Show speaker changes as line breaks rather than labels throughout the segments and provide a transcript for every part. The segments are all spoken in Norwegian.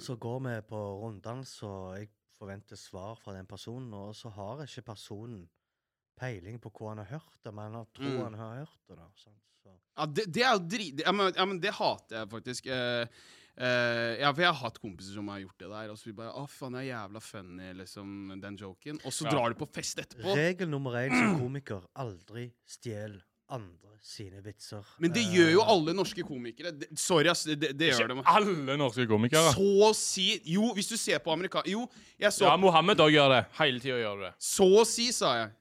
Så går vi på runddans, og jeg forventer svar fra den personen, og så har ikke personen peiling på hva han har hørt, men han har- tror
Mm.
han har hørt det. da, sant? Så,
Ja, det, det er jo drit... Ja, men, ja, men det hater jeg faktisk. Eh, eh, ja, for jeg har hatt kompiser som har gjort det der, og så blir det bare Å, faen, det er jævla funny, liksom, den joken. Og så
Ja.
drar du på fest etterpå.
regel nummer én som komiker aldri stjel andre sine vitser.
Men det
Eh,
gjør jo alle norske komikere. Det, sorry, ass. Det, det, det gjør de.
Ikke alle norske komikere.
Så å si Jo, hvis du ser på amerika... Jo, jeg så
Ja, Mohammed òg gjør det. Hele tida gjør du det.
Så å si, sa jeg.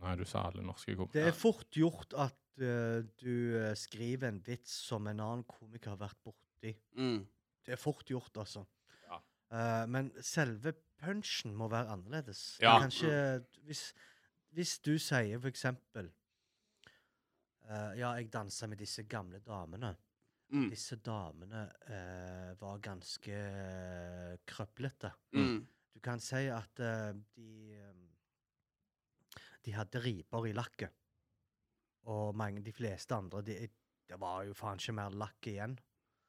Nei, du sa alle norske
Det er
komikere.
fort gjort at eh, du eh, skriver en vits som en annen komiker har vært borti.
Mm.
Det er fort gjort, altså.
Ja.
Eh, men selve punchen må være annerledes.
Ja.
Kanskje hvis, hvis du sier for eksempel eh, Ja, jeg dansa med disse gamle damene.
Mm.
Disse damene eh, var ganske uh, krøplete.
Mm.
Du kan si at eh, de eh, De hadde riper i lakket. Og mange, de fleste andre de, Det var jo faen ikke mer lakk igjen.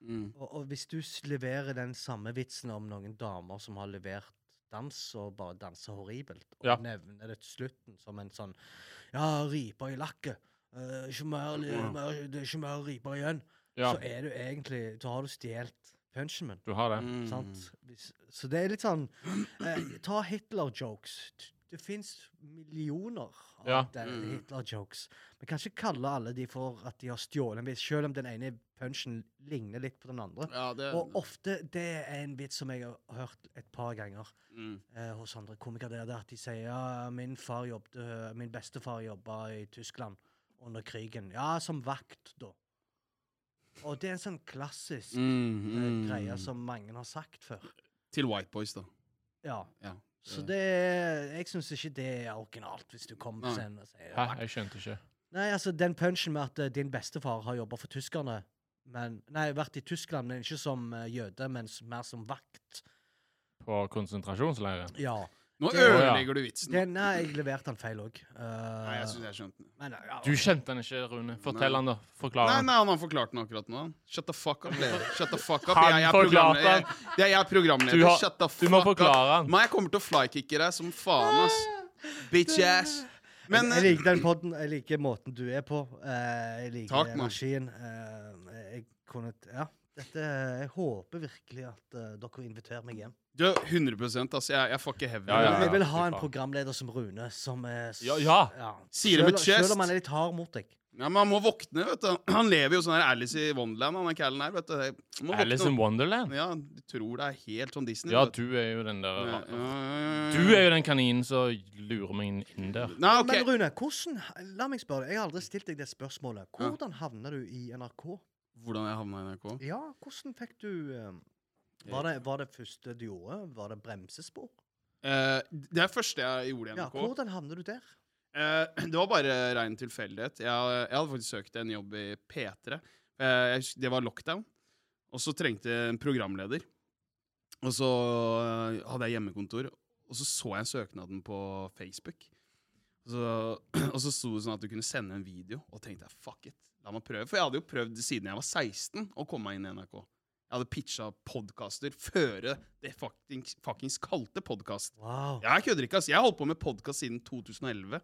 Mm.
Og, og hvis du s- leverer den samme vitsen om noen damer som har levert dans, og bare danser horribelt, og
Ja.
nevner det til slutten som en sånn Ja, riper i lakket. eh, ikke mer, li-
Ja.
mer, det er ikke mer riper igjen.
Ja,
Så er du egentlig Da har du stjålet punchen min.
du har det.
Mm.
Sant? Hvis- Så det er litt sånn eh, Ta Hitler-jokes. T- Det fins millioner av
Ja.
den-
Mm.
Hitler-jokes. Vi kan ikke kalle alle de for at de har stjålet en vits, selv om den ene punchen ligner litt på den andre.
Ja, det
Og ofte det er en vits som jeg har hørt et par ganger
mm.
eh, hos andre komikere. Det er det at de sier ja, min, far jobbte, min bestefar jobba i Tyskland under krigen. Ja, som vakt, da. Og det er en sånn klassisk eh,
Mm,
greie
mm.
som mange har sagt før.
Til White Boys, da.
Ja.
Ja. Eh.
Så det er- Jeg syns ikke det er originalt, hvis du kommer på
Nei.
scenen og sier
Hæ,
vakt.
jeg skjønte ikke.
Nei, altså, den punchen med at eh, din bestefar har jobba for tyskerne men, Nei, vært i Tyskland, men ikke som eh, jøde, men s- mer som vakt.
På konsentrasjonsleiren.
Ja.
Nå
Det-
ødelegger du vitsen.
Den, nei, jeg leverte den feil òg.
Nei, altså, jeg syns jeg skjønte den.
men, ja,
Du kjente han ikke, Rune. Fortell
Nei.
han da. Forklar
Nei,
han.
nei, han har forklart den akkurat nå. Shut the fuck up, dere. Shut the fuck up.
Han
Jeg, jeg er
forklarte
programleder. Jeg, det er jeg er programleder.
Du har-
Shut the fuck
Du må forklare
up.
han.
Nei, jeg kommer til å flykicke deg som faen, ass. Bitch ass. Men eh,
jeg, jeg liker den podden, jeg liker måten du er på. eh, jeg liker
Takk, mann.
energien. eh, jeg kunne Ja. Dette, jeg håper virkelig at eh, dere inviterer meg hjem.
du, 100 altså. Jeg, jeg fucker heavy.
Ja, ja, ja.
Jeg vil ha
fy
en
faen.
programleder som Rune, som er s-
Ja, ja.
Sier det med
Selv-
chest.
Selv om han er litt hard mot deg.
Ja, men han må våkne, vet du. Han lever jo sånn her Alice i Wonderland, han er callen her, vet du. Jeg Må
Alice in
våkne.
Wonderland?
Ja, du tror det er helt sånn Disney.
Ja,
vet
du er jo den der
Ja, ja, ja, ja.
Du er jo den kaninen som lurer meg inn- inn der.
Nei, ok.
Men Rune, hvordan, la meg spørre deg, jeg har aldri stilt deg det spørsmålet. Hvordan havna du i NRK?
Hvordan jeg havna i NRK?
Ja, hvordan fikk du eh, var, det, var det første du gjorde? Var det bremsespor?
Eh, det er første jeg gjorde i
Ja,
NRK.
hvordan havner du der?
Eh, det var bare ren tilfeldighet. Jeg, jeg hadde faktisk søkt en jobb i P3. Eh, jeg hus- det var lockdown, og så trengte jeg en programleder. Og så eh, hadde jeg hjemmekontor, og så så jeg søknaden på Facebook. Og Så, og så sto det sånn at du kunne sende en video, og tenkte jeg, fuck it, la meg prøve. For jeg hadde jo prøvd siden jeg var 16 å komme meg inn i NRK. Jeg hadde pitcha podkaster før det fuckings, fuckings kalte podkast.
Wow.
Jeg kødder ikke, ass. Jeg har holdt på med podkast siden 2011.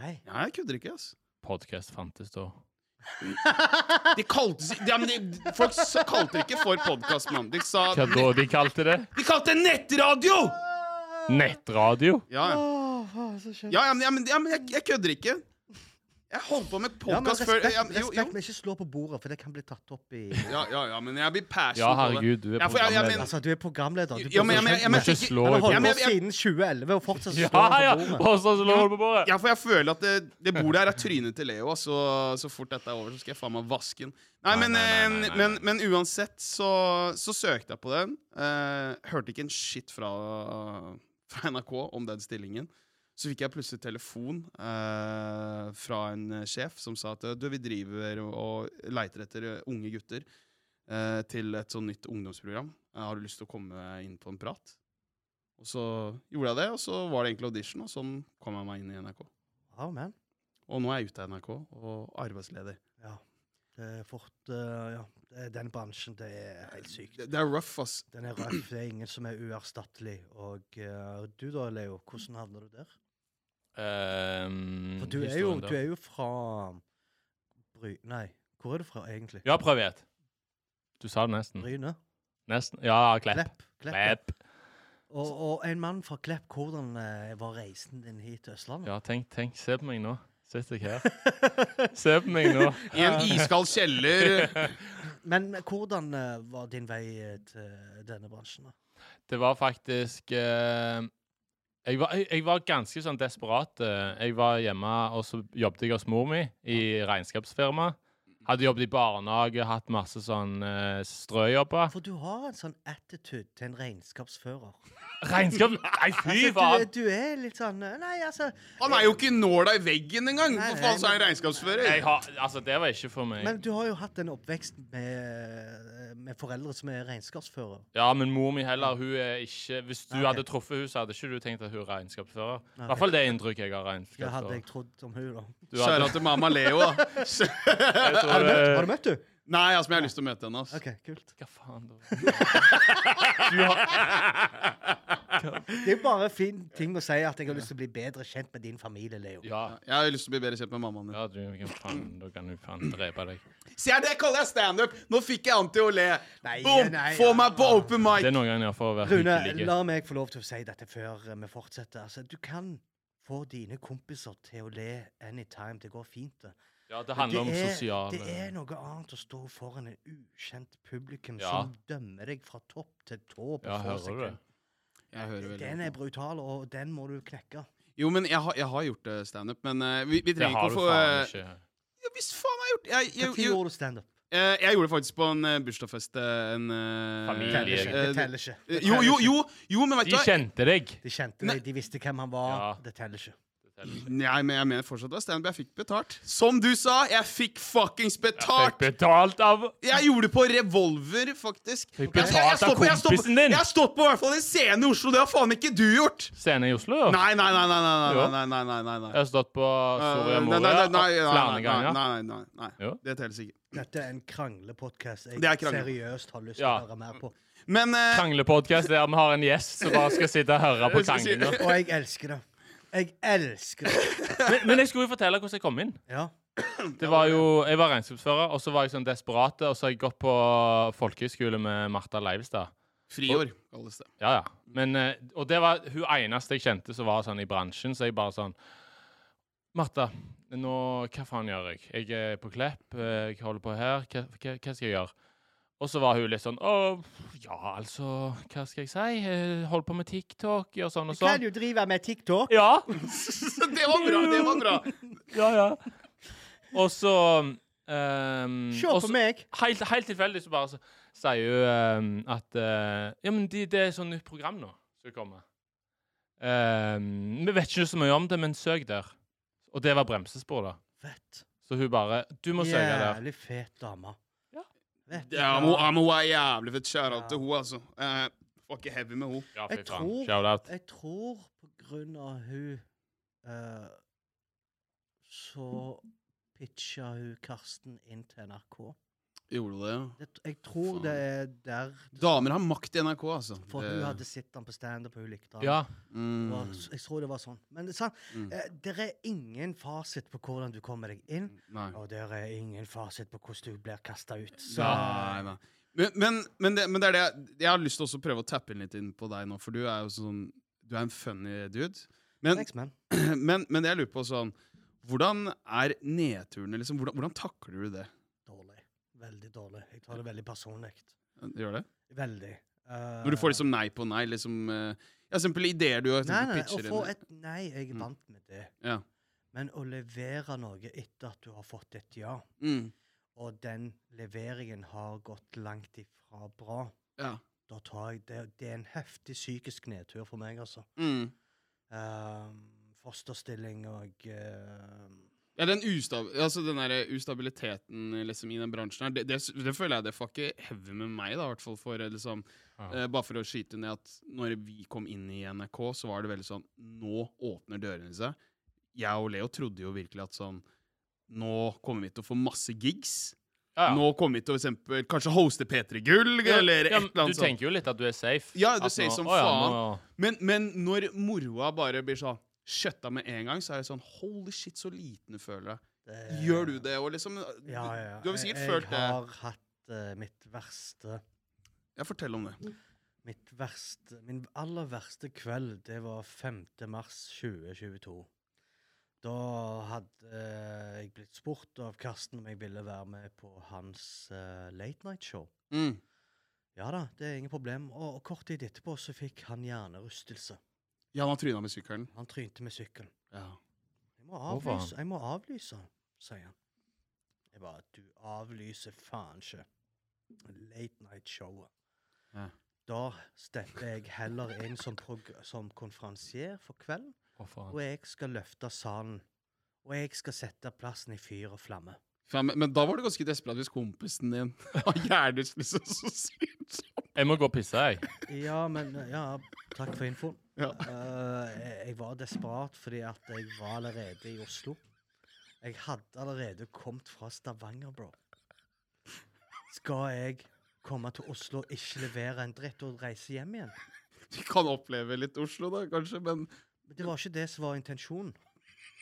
Nei.
Ja, jeg kødder ikke, ass.
Podcast fantes da.
Ah.
De kalte seg ja, men de, Folk s- kalte det ikke for podkast, mann. De sa
Hva da de kalte det?
De kalte det nettradio!
Nettradio?
Ja, ja.
Åh, så skjønt.
ja, ja, men, ja, men, ja, men jeg, jeg kødder ikke. Jeg holdt på
Ja,
med
men
podkast før
respekt,
ja, men- jo, jo.
respekt, men ikke slå på bordet, for det kan bli tatt opp i
Ja, ja, ja, men jeg blir passion
Ja,
på det.
herregud, du er
Ja, for jeg- jeg
programleder.
mener-
Altså, du er programleder. Du
Ja, men- ja, men- ja, men-
Ikke
ikke-
slå
Han har
i
Ja,
holdt
men-
på
jeg-
siden 2011 og fortsatt
Ja,
står han
ja!
på bordet.
Og så slår du på bordet.
Ja, for jeg føler at det, det bordet her er trynet til Leo, ass, så, så fort dette er over, så skal jeg faen meg vaske den. Nei,
Nei,
men,
nei, nei, nei,
eh,
nei,
men,
nei.
men uansett så, så søkte jeg på den. Eh, hørte ikke en shit fra, fra NRK om den stillingen. Så fikk jeg plutselig telefon eh, fra en eh, sjef som sa at du, vi driver og leiter etter eh, unge gutter eh, til et sånn nytt ungdomsprogram. Eh, har du lyst til å komme inn på en prat? Og så gjorde jeg det, og så var det egentlig audition, og sånn kom jeg meg inn i NRK.
Ja, men.
Og nå er jeg ute av NRK og arbeidsleder.
Ja. Det er fort eh, Ja, det er den bransjen, det er helt sykt.
Det, det er rough, ass.
Den er røff, det er ingen som er uerstattelig. Og eh, du da, Leo, hvordan havner du der?
Ehm,
For du er jo,
historien der.
du er jo fra Bry... Nei, hvor er du fra egentlig?
Ja, prøv igjen. Du sa det nesten.
Bryne?
Nesten. Ja, Mm. Klepp.
Klepp. Klepp. ja.
Klepp.
Og, og en mann fra Klepp, hvordan eh, var reisen din hit til Østlandet?
Ja, tenk, tenk. Se på meg nå. Sitter jeg her. Se på meg nå.
I en iskald kjeller.
Men hvordan eh, var din vei eh, til denne bransjen? da?
Det var faktisk eh, jeg, var, jeg, jeg var ganske sånn desperat. eh. Jeg var hjemme, og så jobbet jeg hos mor mi i regnskapsfirma. Hadde jobbet i barnehage, hatt masse sånn eh, strøjobber.
For du har en sånn attitude til en regnskapsfører.
Regnskap Nei, fy
Altså,
faen!
du, du er litt sånn eh, Nei, altså
Han er jo ikke nåla i veggen engang!
Nei,
For faen,
nei,
så er han
Jeg
regnskapsfører.
har, altså, det var ikke for meg.
Men du har jo hatt en oppvekst med, med foreldre som er regnskapsfører.
Ja, men mor mi heller, hun er ikke Hvis du
Nei, ok.
hadde truffet henne, så hadde ikke du tenkt at hun er regnskapsfører. I
Nei, ok.
hvert fall det inntrykket jeg har av
Det hadde
regnskapsfører.
jeg trodd om hun da.
Du
Kjære
hadde-
til mamma Leo, da.
jeg tror,
Har du møtt,
eh,
har du møtt du?
Nei, altså, men jeg har lyst til å møte henne. ass.
OK, kult.
Hva faen, da? Du har,
Det er bare en fin ting å si at jeg har lyst til å bli bedre kjent med din familie, Leo.
ja.
Jeg har lyst til å bli bedre kjent med mammaen din.
Ja, du, hvem faen, da kan du faen drepe deg.
Se her, det kaller jeg standup! Nå fikk jeg han til å le.
Nei,
Boom!
nei,
Få
ja.
meg på open
Det
mic!
er noen ganger for å være
Rune,
hyggelig.
la meg få lov til å si dette før eh, vi fortsetter. Altså, du kan få dine kompiser til å le anytime. Det går fint, det.
Ja, det
Men
handler om
det er-
sosiale
Det er noe annet å stå foran en ukjent publikum
Ja.
som dømmer deg fra topp til tå på
Ja,
få
hører du det?
sekunder.
Jeg hører veldig
Den er brutal, og den må du knekke.
Jo, men jeg, har- jeg har gjort eh, standup, men eh, vi, vi
Det
trenger
har
ikke
du
å få
faen
eh,
ikke.
ja, Hvis faen jeg har gjort jeg, jeg,
Når
jeg,
gjorde du standup?
eh, jeg gjorde det faktisk på en eh, bursdagsfest eh, en eh,
Familie.
Teller ikke. Det
eh,
teller ikke.
eh,
Det
Jo,
teller
jo,
ikke.
jo, jo, men vet du
De
hva?
kjente deg.
De kjente
Nei.
deg, de visste hvem han var.
Ja.
Det teller ikke.
Nei, men jeg mener fortsatt det var standup. Jeg fikk betalt. Som du sa, jeg fikk fuckings
Fikk
betalt!
betalt av
Jeg gjorde det på revolver, faktisk.
Fikk
Jeg- jeg- jeg
betalt av
står på- jeg står på-
kompisen din.
Jeg har stått på i hvert fall en scene i Oslo, det har faen ikke du gjort!
scenen i Oslo. da.
Nei, nei, nei, nei, nei,
Jo.
nei, nei, nei, nei, nei.
Jeg har stått på
Eh,
Soria
nei, nei,
Moria
nei, nei, nei,
flere
nei,
ganger.
Nei, nei, nei. nei.
Jo.
Det telles ikke.
Dette er en kranglepodkast jeg
Det er krangle.
seriøst har lyst til
Ja.
å høre mer på.
Men eh,
Kranglepodkast der vi har en gjest som bare skal sitte og høre på
Jeg skal si-
krangler.
Og jeg elsker det. Jeg elsker det.
Men, men jeg skulle jo fortelle hvordan jeg kom inn.
Ja.
Det var jo, Jeg var regnskapsfører, og så var jeg sånn desperat. Og så har jeg gått på folkehøyskole med Martha Leivestad.
Friår kalles det.
Ja, ja. Men, eh, og det var hun eneste jeg kjente som var sånn i bransjen, så jeg bare sånn Martha, nå, hva faen gjør jeg? Jeg er på Klepp, eh, jeg holder på her, hva, hva, hva skal jeg gjøre? Og så var hun litt sånn Å, ja, altså, hva skal jeg si? Eh, Hold på med TikTok og sånn og
Kan
sånn.
du drive med TikTok?
Ja,
det var bra! det var bra
ja, ja. Og så ehm,
Se
og
på
så-
meg.
Helt, helt tilfeldig så bare så, sier hun ehm, at eh, Ja, men de, det er sånn nytt program nå som kommer. Ehm, vi vet ikke så mye om det, men søk der. Og det var bremsespor, da.
Fett.
Så hun bare Du må søke der.
Jævlig fet dame.
Ja.
Vet du
Ja,
hva?
men hun ja, men hun er jævlig fett kjære til
Ja.
hun, altså. Eh, var ikke heavy med hun.
Ja,
Jeg tror-
Shout-out.
Jeg tror på grunn av hun eh, Så pitcha hun Karsten inn til NRK.
Gjorde hun det, ja?
Det, jeg tror
Faen.
det er der
Damer har makt i NRK, altså.
For
Det-
hun hadde sett han på standup, og hun likte han.
Ja.
Det
mm.
var- Jeg tror det var sånn. Men det, er sant,
Mm.
eh, det er ingen fasit på hvordan du kommer deg inn,
Nei.
og det er ingen fasit på hvordan du blir kasta ut. Så
Nei, nei. Men, men, men, det, men det er det jeg- jeg har lyst til også å prøve å tappe inn litt inn på deg nå, for du er jo sånn Du er en funny dude. Men,
thanks, man.
men, men det jeg lurer på sånn Hvordan er nedturene, liksom? Hvordan, hvordan takler du det?
Dårlig. Veldig dårlig. Jeg tar det veldig personlig.
Gjør det?
Veldig. Eh,
Når du får liksom nei på nei, liksom eh, Ja, eksempel ideer du har
Nei,
eksempel
nei, å
pitcher
få
inn.
et nei, jeg er
Mm.
vant med det.
Ja.
Men å levere noe etter at du har fått et ja,
Mm.
og den leveringen har gått langt ifra bra,
Ja.
da tar jeg det, det er en heftig psykisk nedtur for meg, altså.
Mm.
Ehm, fosterstilling og ehm,
Ja, den, ustab altså, den der ustabiliteten eh, liksom, i den bransjen her, det, det, s- det føler jeg det får ikke heavy med meg, da, i hvert fall for eh, liksom
Ja.
eh, Bare for å skyte ned at når vi kom inn i NRK, så var det veldig sånn Nå åpner dørene seg. Jeg og Leo trodde jo virkelig at sånn Nå kommer vi til å få masse gigs.
Ja, ja.
Nå kommer vi til å for eksempel, kanskje hoste P3 Gull, eller et
Ja, men
eller annet
Du tenker jo litt at du er safe.
Ja, du
At
sier
nå-
som
å ja,
faen.
nå-
Men, men når moroa bare blir sånn skjøtta med en gang, så er jeg sånn Holy shit, så liten du føler deg.
Det-
Gjør du det òg, liksom?
Ja, ja. ja.
Du har vel sikkert
jeg,
følt det?
Jeg har hatt eh, mitt verste
Ja, fortell om det.
Mitt verste Min aller verste kveld, det var 5. mars 2022. Da hadde eh, jeg blitt spurt av Karsten om jeg ville være med på hans eh, late night show.
Mm.
Ja da, det er ingen problem. Og, og kort tid etterpå så fikk han hjernerystelse.
Ja, han har tryna med sykkelen.
Han trynte med sykkelen.
Ja.
Jeg må
Å, faen.
avlyse, jeg må avlyse, sier han. Jeg bare, du avlyser faen ikke late night showet.
Ja.
Da stepper jeg heller inn som, prog- som konferansier for kvelden,
Å, faen.
og jeg skal løfte salen. Og jeg skal sette plassen i fyr og flamme.
Ja, men, men da var du ganske desperat hvis kompisen din har hjernerystelse så sykt.
Jeg må gå og pisse, jeg.
Ja, men ja, takk for infoen.
Ja.
Eh, jeg, jeg var desperat fordi at jeg var allerede i Oslo. Jeg hadde allerede kommet fra Stavanger, bro. Skal jeg komme til Oslo og ikke levere en dritt og reise hjem igjen?
Du kan oppleve litt Oslo, da, kanskje, men
Men det var ikke det som var intensjonen.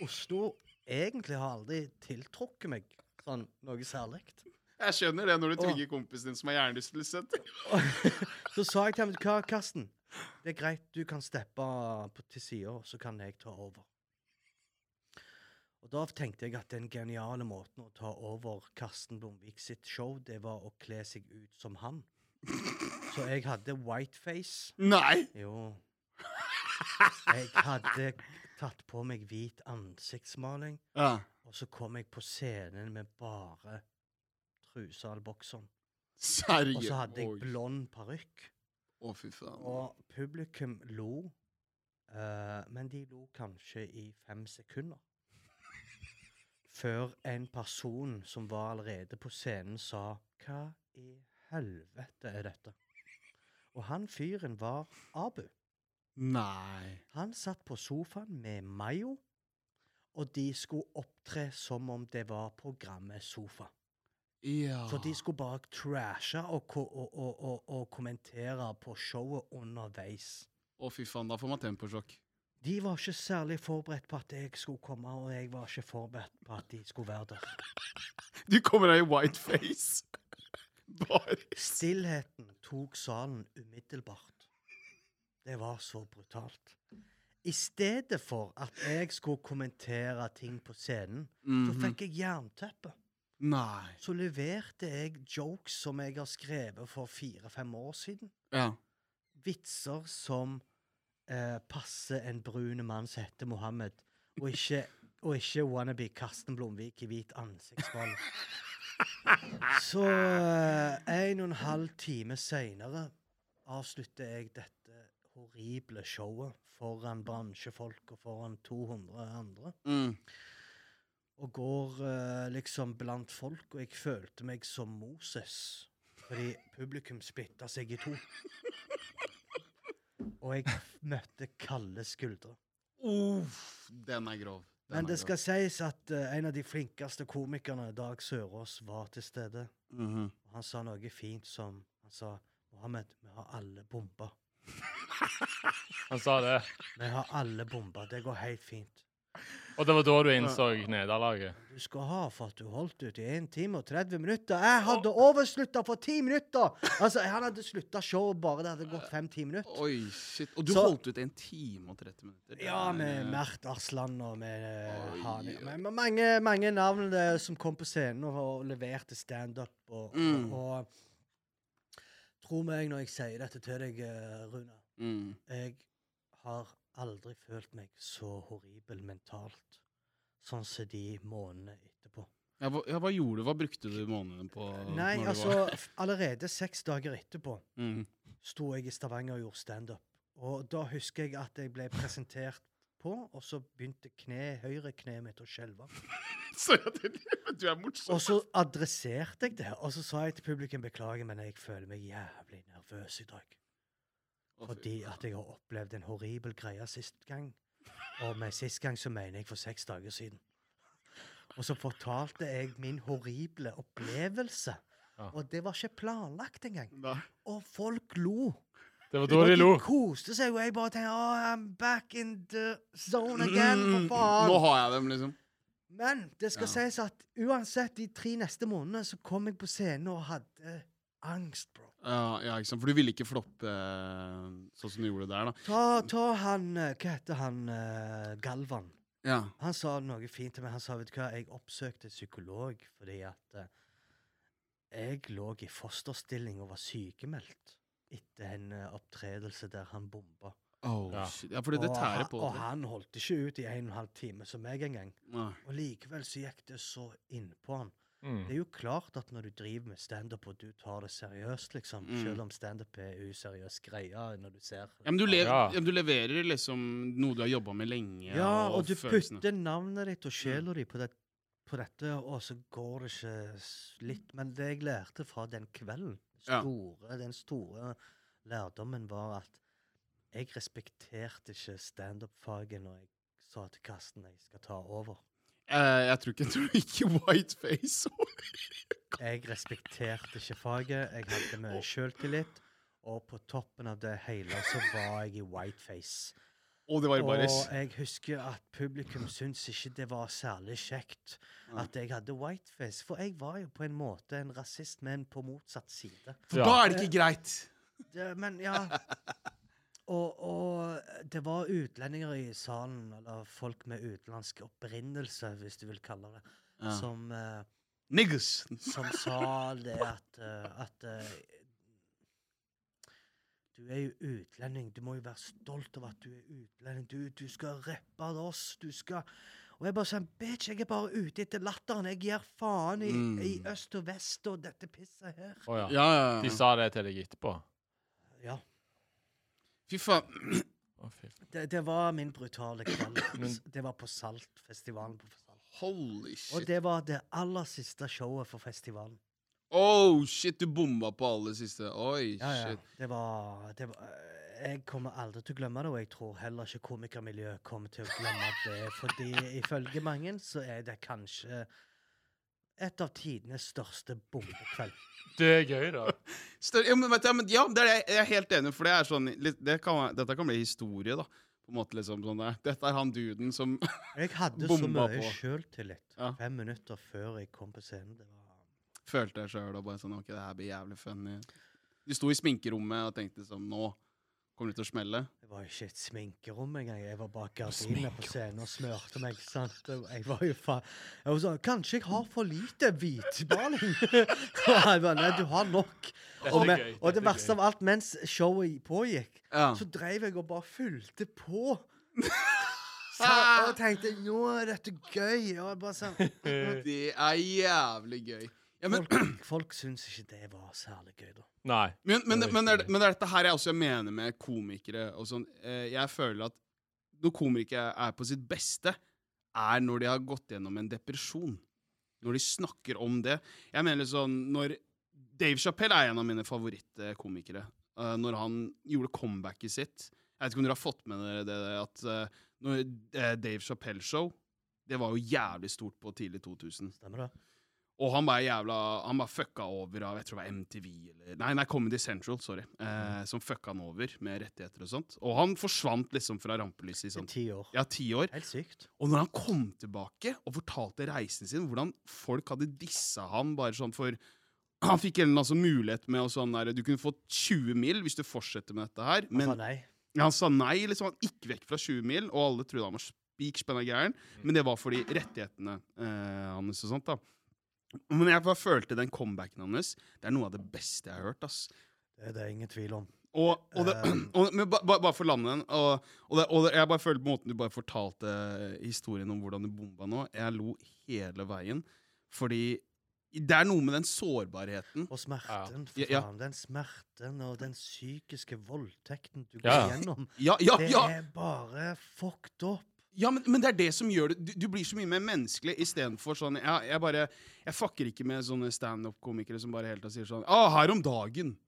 Oslo egentlig har aldri tiltrukket meg sånn noe særlig.
jeg skjønner det når du
Å.
tvinger kompisen din som har liksom hjernerystelse.
Så sa jeg til ham Hva, Karsten? Det er greit, du kan steppe på- til sida, så kan jeg ta over. Og da tenkte jeg at den geniale måten å ta over Karsten Blomvik sitt show, det var å kle seg ut som han. Så jeg hadde whiteface.
Nei!
Jo. Jeg hadde tatt på meg hvit ansiktsmaling,
Ja.
og så kom jeg på scenen med bare trusa eller bokseren. Og
Seriøst.
så hadde jeg
Oi.
blond parykk.
Å, fy faen.
Og publikum lo, eh, men de lo kanskje i fem sekunder. Før en person som var allerede på scenen, sa 'Hva i helvete er dette?' Og han fyren var Abu.
Nei.
Han satt på sofaen med Mayo, og de skulle opptre som om det var programmet Sofa.
Ja.
For de skulle bare trashe og, ko- og, og, og, og kommentere på showet underveis.
Å, fy faen, da får man temposjokk.
De var ikke særlig forberedt på at jeg skulle komme, og jeg var ikke forberedt på at de skulle være der.
Du kommer her i whiteface. Bare
Stillheten tok salen umiddelbart. Det var så brutalt. I stedet for at jeg skulle kommentere ting på scenen, så
Mhm.
fikk jeg jernteppe.
Mm-hmm. Nei.
Så leverte jeg jokes som jeg har skrevet for fire-fem år siden.
Ja.
vitser som eh, passer en brune mann som heter Mohammed, og ikke, og ikke wannabe Karsten Blomvik i hvit ansiktsball. Så eh, en og en halv time seinere avslutter jeg dette horrible showet foran bransjefolk og foran 200 andre.
Mm.
Og går eh, liksom blant folk, og jeg følte meg som Moses. Fordi publikum splitta seg i to. Og jeg f- møtte kalde skuldre.
Uff, den er grov. Den
Men
er
det skal sies at eh, en av de flinkeste komikerne, Dag Sørås, var til stede.
grov. Mhm.
Og han sa noe fint som Han sa Mohammed, vi har alle bomba.
Han sa det.
Vi har alle bomba. Det går helt fint.
Og det var da du innså nederlaget.
Du skal ha for at du holdt ut i 1 time og 30 minutter. Jeg hadde overslutta for 10 minutter! Altså, Han hadde slutta showet bare det hadde gått 5-10 minutter.
Oi, shit. Og du
Så-
holdt ut en time og 30 minutter. Det
Ja,
er- eh,
med Mert Arslan og med
Oi,
eh, Hani.
oi.
Men- men Mange, mange navn eh, som kom på scenen og, og leverte standup. Og,
Mm.
og, og tro meg når jeg sier dette til deg, eh, Rune.
Mm.
Jeg har aldri følt meg så horribel mentalt sånn som de månedene etterpå.
Ja, hva, ja, hva gjorde du? Hva brukte du månedene på?
Nei,
når du
altså,
var-
f- allerede seks dager etterpå
Mm.
sto jeg i Stavanger og gjorde standup. Og da husker jeg at jeg ble presentert på, og så begynte kne, høyre kneet mitt å skjelve.
Så jeg tenkte, men du er morsom.
Og så adresserte jeg det, og så sa jeg til publikum beklager, men jeg føler meg jævlig nervøs i dag.
Å, fy
Fordi at jeg har opplevd en horribel greie sist gang. Og med sist gang så mener jeg for seks dager siden. Og så fortalte jeg min horrible opplevelse.
Ja.
Og det var ikke planlagt engang.
Nei.
Og folk lo.
Det var da de lo.
koste seg, og jeg bare tenkte oh, I'm back in the zone again, for faen.
Mm. Nå har jeg dem, liksom.
Men det skal
Ja.
sies at uansett de tre neste månedene så kom jeg på scenen og hadde angst, bro.
Ja, ja, ikke sant? For du ville ikke floppe eh, sånn som du gjorde der, da.
Ta, ta han eh, Hva heter han eh, Galvan?
Ja.
Han sa noe fint til meg. Han sa vet du hva, jeg oppsøkte psykolog fordi at eh, jeg lå i fosterstilling og var sykemeldt etter en eh, opptredelse der han bomba.
Oh,
Ja.
shit. Ja, for det, det
og,
tærer
han-
på.
og
det.
han holdt ikke ut i en og en halv time som meg engang.
Nei.
Og likevel så gikk det så innpå han. Det
Mm.
er jo klart at når du driver med standup og du tar det seriøst, liksom,
Mm.
selv om standup er useriøs greie når du ser
Ja, men du, lev, ja.
Ja.
men du leverer liksom noe du har jobba med lenge.
Ja, og du
følelsene.
putter navnet ditt og sjela di på, det, på dette, og så går det ikke s- litt Men det jeg lærte fra den kvelden,
Ja.
store, den store lærdommen, var at jeg respekterte ikke standup-faget når jeg sa til Karsten jeg skal ta over.
Eh, jeg tror ikke jeg tror ikke whiteface.
Jeg respekterte ikke faget, jeg hadde mye sjøltillit, og på toppen av det hele så var jeg i whiteface.
Og det var i baris.
Og jeg husker at publikum syntes ikke det var særlig kjekt
Nei.
at jeg hadde whiteface, for jeg var jo på en måte en rasist, men på motsatt side.
For
Ja.
da er det ikke greit.
Det, men ja og, og det var utlendinger i salen, eller folk med utenlandsk opprinnelse, hvis du vil kalle det,
Ja.
som, eh,
Niggas.
som sa det at, eh, at eh, Du er jo utlending. Du må jo være stolt over at du er utlending. Du, du skal rappe av oss. Du skal Og jeg bare sånn Bitch, jeg er bare ute etter latteren. Jeg gir faen i,
Mm.
i øst og vest og dette pisset her.
Å ja.
Ja, ja,
De
ja.
sa det til deg etterpå?
Ja.
Fy faen.
Å, fy.
Det, det var min brutale kveld.
Men-
det var på Saltfestivalen på Salt.
Holy
Og
shit.
det var det aller siste showet for festivalen.
Oh shit, du bomba på alle siste. Oi,
Ja, ja.
shit.
Det var, det var Jeg kommer aldri til å glemme det, og jeg tror heller ikke komikermiljøet kommer til å glemme det. Fordi ifølge mange så er det kanskje et av tidenes største bombekveld.
Det er gøy, da.
Større, ja, men, vet du, ja, men, ja, det er, jeg er helt enig, for det er sånn litt- det kan, være- Dette kan bli historie, da. På en måte liksom sånn der. Dette er han duden som
Jeg hadde så
Bomba
mye
på.
sjøltillit
Ja.
fem minutter før jeg kom på scenen. Det var
følte jeg sjøl og bare sånn Ok, det her blir jævlig funny. Du sto i sminkerommet og tenkte sånn Nå kommer det til å smelle.
Det var ikke et sminkerom engang. Jeg var bak gardinene på scenen og smørte meg. sant? Og Jeg var jo faen... Jeg var sånn, Kanskje jeg har for lite hvitmaling? Og han bare, Nei, du har nok.
Dette
Og,
er
med,
gøy,
og det
dette er
verste
gøy.
av alt, mens showet pågikk,
Ja.
så dreiv jeg og bare fulgte på. Så, og tenkte nå er dette gøy. Og jeg bare sånn,
Det er jævlig gøy. Ja, men,
folk, folk syns ikke det var særlig gøy, da.
Nei.
men, men,
Det er
men, er,
riktig.
det- men det er dette her jeg også mener med komikere og sånn. Eh, Jeg føler at når komikere er på sitt beste, er når de har gått gjennom en depresjon. Når de snakker om det. Jeg mener sånn når Dave Chappelle er en av mine favorittkomikere. Eh, Når han gjorde comebacket sitt Jeg vet ikke om dere har fått med dere det at eh, når eh, Dave Chappelle-show Det var jo jævlig stort på tidlig 2000.
Stemmer det?
Og han bare jævla Han bare fucka over av jeg tror det var MTV eller Nei, nei, Comedy Central, sorry. Eh, som fucka han over med rettigheter og sånt. Og han forsvant liksom fra rampelyset i
I
sånn
ti år.
ja, ti år.
Helt sykt.
Og når han kom tilbake og fortalte reisen sin, hvordan folk hadde dissa ham bare sånn for Han fikk en eller annen sånn mulighet med å sånn der, Du kunne få 20 mil hvis du fortsetter med dette her.
Men,
Men
nei.
ja, han sa nei, liksom. Han gikk vekk fra 20 mil, og alle trodde han var spikspenna gæren.
Mm.
Men det var fordi rettighetene eh, hans og sånt, da. Men jeg bare følte den comebacken hans. Det er noe av det beste jeg har hørt, ass.
Det er det ingen tvil om.
Og, og, det,
Um.
og men ba, ba, bare for å lande den og, og, det, og det, Jeg bare følte på måten du bare fortalte eh, historien om hvordan du bomba nå. Jeg lo hele veien. Fordi det er noe med den sårbarheten.
Og smerten, for
Ja, ja.
faen. Den smerten og den psykiske voldtekten du går
Ja, ja.
gjennom,
Ja, ja,
det
ja!
er bare fucked up.
Ja, men, men det er det som gjør det. Du, du blir så mye mer menneskelig istedenfor sånn jeg, jeg bare Jeg fucker ikke med sånne standup-komikere som bare hele tiden sier sånn Å, her om «Ah, dagen.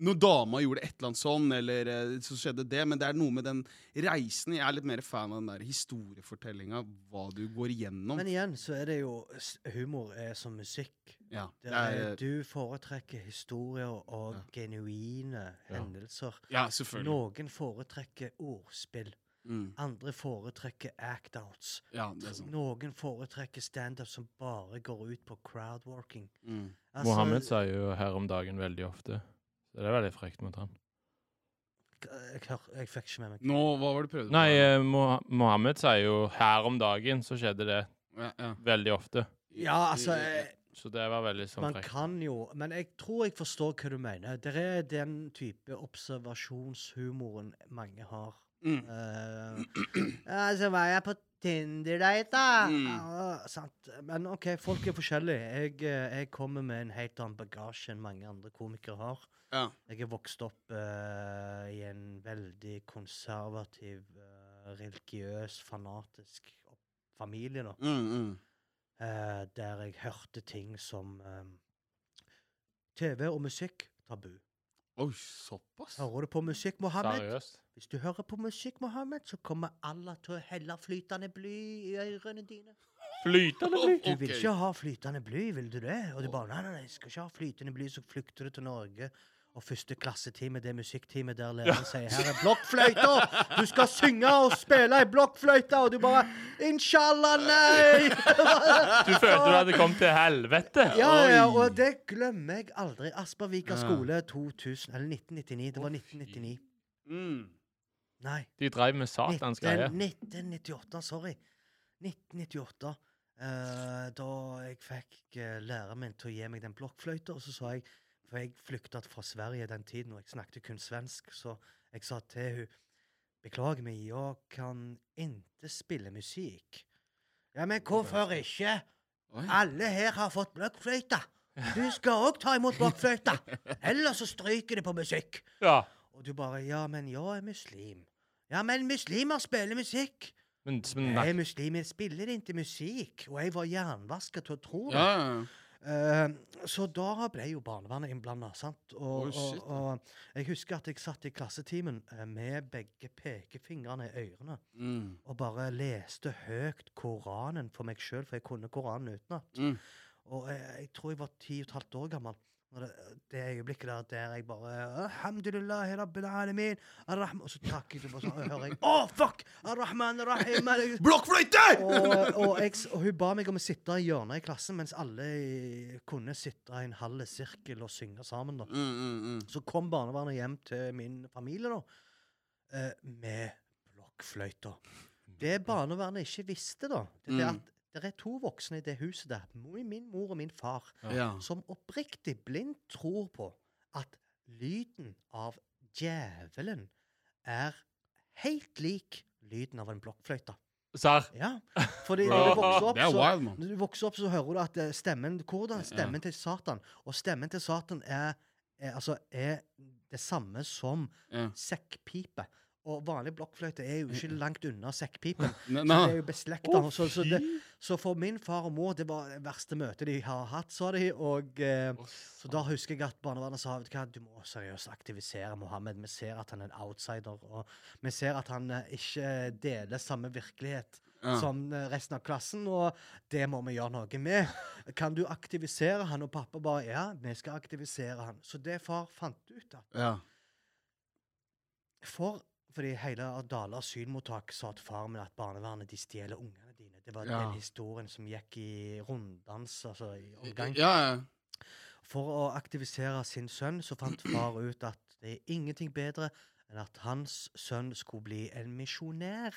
Når dama gjorde et eller annet sånn, eller eh, så skjedde det. Men det er noe med den reisen. Jeg er litt mer fan av den der historiefortellinga. Hva du går igjennom.
Men igjen så er det jo s- Humor er som musikk.
Ja,
Der
det er,
er, du foretrekker historier og genuine
Ja.
hendelser.
ja selvfølgelig.
Noen foretrekker ordspill.
Mm.
Andre foretrekker act-outs.
Ja, det er sånn.
Noen foretrekker standup som bare går ut på crowdworking.
Mm.
Altså,
Mohammed sier jo her om dagen veldig ofte. Så det er veldig frekt mot han.
Jeg, hør- jeg fikk ikke med meg.
Nå, hva var det du prøvde
Nei,
på?
eh, Mo- Mohammed sier jo 'her om dagen', så skjedde det
Ja, ja.
veldig ofte.
Ja, altså eh,
Så det var veldig sånn
Man
frekt.
kan jo Men jeg tror jeg forstår hva du mener. Det er den type observasjonshumoren mange har.
Mm.
Eh, ja, så var jeg på Tinder-date, da.
Mm.
Ja, sant. Men OK, folk er forskjellige. Jeg, eh, jeg kommer med en helt annen bagasje enn mange andre komikere har.
Ja.
Jeg er vokst opp eh, i en veldig konservativ, eh, religiøs, fanatisk opp- familie, da.
Mm, mm.
eh, der jeg hørte ting som eh, TV og musikk tabu.
Oi, såpass?
Hører du på musikk, Mohammed?
Seriøst.
Hvis du hører på musikk, Mohammed, så kommer Allah til å helle flytende bly i ørene dine.
Flytende
Oh,
blikk.
Du vil
ok.
ikke ha flytende bly, vil du det? Og du bare nei, nei, nei, jeg skal ikke ha flytende bly, så flykter du til Norge. Og første klassetime, det er musikktimet der læreren sier her er blokkfløyta! Du skal synge og spille i blokkfløyta, og du bare Inshallah, nei!
Du følte du hadde kommet til helvete.
Ja, ja,
Oi.
og det glemmer jeg aldri. Aspervika
Ja.
skole 2000, eller 1999. Det var 1999.
Mm.
Nei.
De drev med satans greier.
1998, sorry. 1998. eh, da jeg fikk eh, læreren min til å gi meg den blokkfløyta, og så sa jeg For jeg flykta fra Sverige den tiden, og jeg snakket kun svensk, så jeg sa til hun Beklager meg, jeg kan ikke spille musikk. Ja, men hvorfor ikke?
Oi.
Alle her har fått blokkfløyte. Du skal òg ta imot blokkfløyte. Ellers så stryker det på musikk.
Ja.
Og du bare Ja, men jeg er muslim. Ja, men muslimer spiller musikk.
Men,
Mm.
men
Nei,
nei.
muslimer spiller ikke musikk. Og jeg var jernvaska til å tro det.
Ja, ja, ja.
Eh, så da ble jo barnevernet innblanda, sant. Og,
Oi, shit,
og, og jeg husker at jeg satt i klassetimen eh, med begge pekefingrene i ørene
Mm.
og bare leste høyt Koranen for meg sjøl, for jeg kunne Koranen utenat.
Mm.
Og jeg, jeg tror jeg var ti og et halvt år gammel. Og det, det øyeblikket der der jeg bare Alhamdulillah, rabbil alamin, arrahm-" Og så takker jeg, og så hører jeg Å, fuck! Arrahman, arrahim al-"
Blokkfløyte!
og, og, jeg, s- og hun ba meg om å sitte i hjørnet i klassen, mens alle i- kunne sitte i en halv sirkel og synge sammen. da.
Mm, mm, mm.
Så kom barnevernet hjem til min familie, da, eh, med blokkfløyta. Det barnevernet ikke visste, da, det er det
Mm.
at det er to voksne i det huset der, mo- min mor og min far,
Ja.
som oppriktig blindt tror på at lyden av djevelen er helt lik lyden av en blokkfløyte.
Serr.
Ja, fordi når du vokser opp,
Det er
så
wild, mann.
når du vokser opp, så hører du at eh, stemmen Hvordan er stemmen til Satan? Og stemmen til Satan er, er, altså, er det samme som
Ja.
sekkpipe. Og vanlig blokkfløyte er jo ikke langt unna sekkpipen.
Nei,
Det
Mm. nei.
er jo beslekta.
Å,
så, så, det-
fy.
så for min far og mor, det var det verste møtet de har hatt, sa de. Og eh, så da husker jeg at barnevernet sa vet du hva, du må seriøst aktivisere Mohammed. Vi ser at han er en outsider, og vi ser at han eh, ikke deler samme virkelighet
Ja.
som eh, resten av klassen, og det må vi gjøre noe med. Kan du aktivisere han? Og pappa bare ja, vi skal aktivisere han. Så det far fant ut, da
Ja.
For fordi hele Dale asylmottak sa til far min at barnevernet de stjeler ungene dine. Det var
Ja.
den historien som gikk i runddans, altså i omgang.
Ja, ja.
For å aktivisere sin sønn så fant far ut at det er ingenting bedre enn at hans sønn skulle bli en misjonær.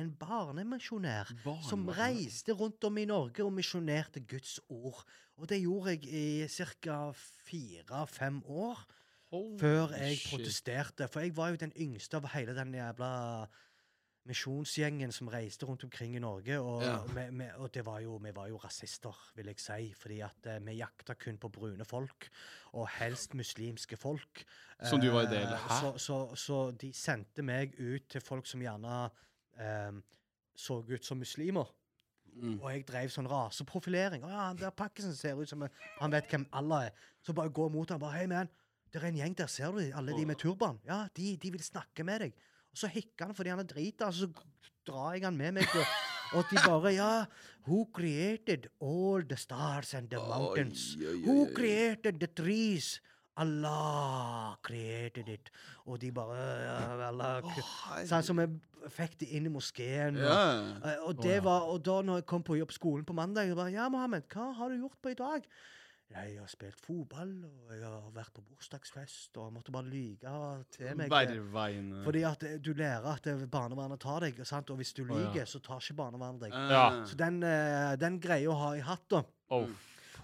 En barnemisjonær. Som reiste rundt om i Norge og misjonerte Guds ord. Og det gjorde jeg i ca. fire-fem år før jeg protesterte. For jeg var jo den yngste av hele den jævla misjonsgjengen som reiste rundt omkring i Norge. Og,
Ja.
vi, vi, og det var jo, vi var jo rasister, vil jeg si. Fordi at eh, vi jakta kun på brune folk, og helst muslimske folk.
Som du var en del av.
Eh, Så, så, så de sendte meg ut til folk som gjerne eh, så ut som muslimer.
Mm.
Og jeg drev sånn raseprofilering. Å, ja, han der pakkisen ser ut som en- Han vet hvem Allah er. Så bare gå mot han bare Hei, man. Det er en gjeng der, ser du de, alle de med turban? Ja, de, de vil snakke med deg. Og så hikker han fordi han er drita, og så drar jeg han med meg. Og, og de bare Ja, who created all the stars and the mountains? Who created the trees? Allah created it. Og de bare «Øh, Allah cre-» Sånn som jeg fikk de inn i moskeen. Og,
Ja.
Eh, Og,
ja.
det var, og da når jeg kom på jobb skolen på mandag, jeg bare, ja, Mohammed, hva har du gjort på i dag? «Nei, Jeg har spilt fotball, og jeg har vært på bursdagsfest, og jeg måtte bare lyge til meg. eh,
Verva inn
Fordi at eh, du lærer at eh, barnevernet tar deg, sant? og hvis du
ja.
lyger, så tar ikke barnevernet
Ah.
deg.
Ja.
Så den, eh, den greia har jeg hatt, da.
Oh,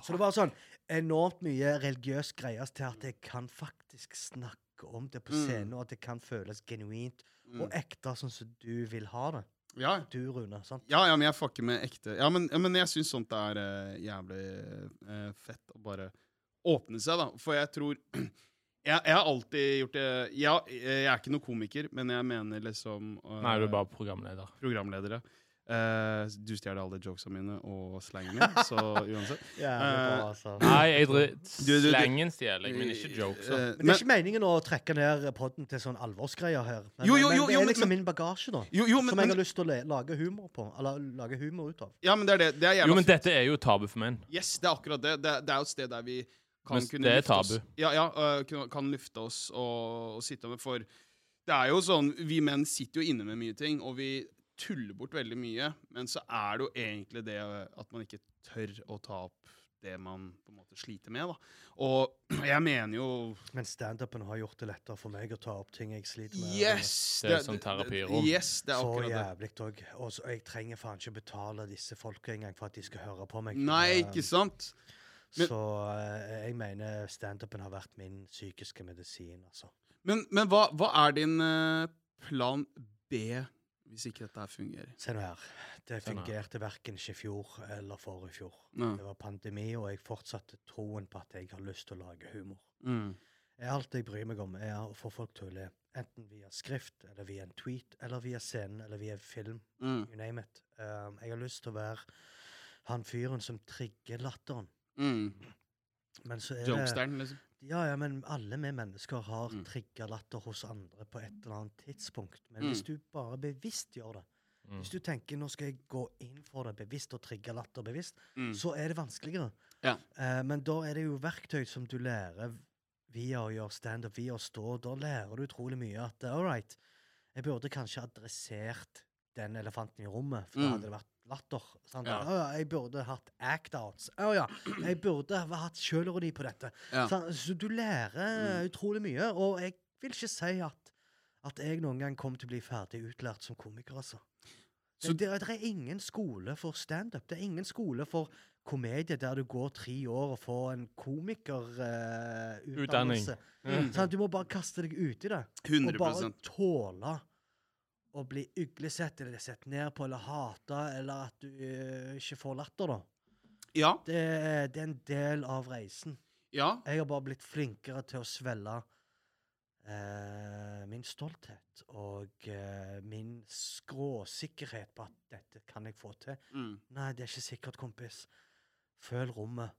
Så det var sånn enormt mye religiøs greier til at jeg kan faktisk snakke om det på
Mm.
scenen, og at det kan føles genuint
Mm.
og ekte, sånn som du vil ha det.
Ja.
Du, Rune. sant?
Ja, ja, men jeg fucker med ekte Ja, men, ja, men jeg syns sånt er eh, jævlig eh, fett å bare åpne seg, da. For jeg tror jeg, jeg har alltid gjort det ja, Jeg er ikke noen komiker, men jeg mener liksom eh,
nei, du er bare programleder.
Mm.
programledere. Eh, du stjeler alle jokesa mine og slangen min, så uansett.
Jævlig
Eh,
bra, altså.
Nei, jeg dri-
du- du-
Slangen stjeler jeg, men ikke jokes. altså. da.
Eh,
Men det er ikke meningen å trekke ned podden til sånn alvorsgreier her. Men,
Jo, jo, jo,
men det er
jo, men-
liksom
men-
min bagasje, da.
jo, jo, men,
som jeg har
men,
lyst til å le- lage humor på. Eller lage humor ut av.
ja, men det er det. Det er
eh,
jævla
Jo, men dette er jo tabu for menn.
Yes, det er akkurat det. Det, det er jo et sted der vi kan
Men
kunne
det er
lufte oss.
tabu.
Ja, ja, øh, kunne- kan lufte oss og, og sitte med For det er jo sånn Vi menn sitter jo inne med mye ting, og vi tuller bort veldig mye. Men så er det jo egentlig det øh, at man ikke tør å ta opp det man på en måte sliter med, da. Og jeg mener jo
Men standupen har gjort det lettere for meg å ta opp ting jeg sliter med. altså.
Yes!
Det er som terapirom.
Yes, det er
Så
akkurat det.
jævlig òg. Og så- jeg trenger faen ikke betale disse folka engang for at de skal høre på meg.
Nei,
Eh,
ikke sant? men-
Så eh, jeg mener standupen har vært min psykiske medisin, altså.
Men, men hva, hva er din øh, plan B hvis ikke dette her fungerer?
Se nå her. Det
Se nå her.
fungerte verken ikke i fjor eller forrige fjor.
Ja.
Det var pandemi, og jeg fortsatte troen på at jeg har lyst til å lage humor.
Mm.
Alt jeg bryr meg om, er å få folk til å le. Enten via skrift, eller via en tweet, eller via scenen, eller via film.
Mm.
You name it. Um, jeg har lyst til å være han fyren som trigger latteren.
Mm.
Men så er det
Jokesteren, liksom.
Ja, ja, men alle vi mennesker har
Mm.
trigga latter hos andre på et eller annet tidspunkt. Men
Mm.
hvis du bare bevisst gjør det,
Mm.
hvis du tenker nå skal jeg gå inn for det bevisst og trigge latter bevisst,
Mm.
så er det vanskeligere.
Ja.
Eh, men da er det jo verktøy som du lærer via å gjøre standup, via å stå. Da lærer du utrolig mye at all right, jeg burde kanskje adressert den elefanten i rommet, for da
Mm.
hadde det vært latter. Sant?
Ja.
Å ja, jeg burde hatt act-outs. Å ja, jeg burde ha hatt sjølironi på dette.
Ja. Mm.
Sant? Så du lærer utrolig mye, og jeg vil ikke si at, at jeg noen gang kommer til å bli ferdig utlært som komiker, altså.
Så-
Det, det, det er ingen skole for standup. Det er ingen skole for komedie der du går tre år og får en
Utdanning.
komikerutdannelse.
Mm.
sånn, du må bare kaste deg uti det. Og
100
bare tåle å bli uglesett eller sett ned på eller hata, eller at du eh, ikke får latter, da.
Ja.
Det, er- det er en del av reisen.
ja.
Jeg har bare blitt flinkere til å svelle eh, min stolthet og eh, min skråsikkerhet på at dette kan jeg få til.
Mm.
Nei, det er ikke sikkert, kompis. Føl rommet.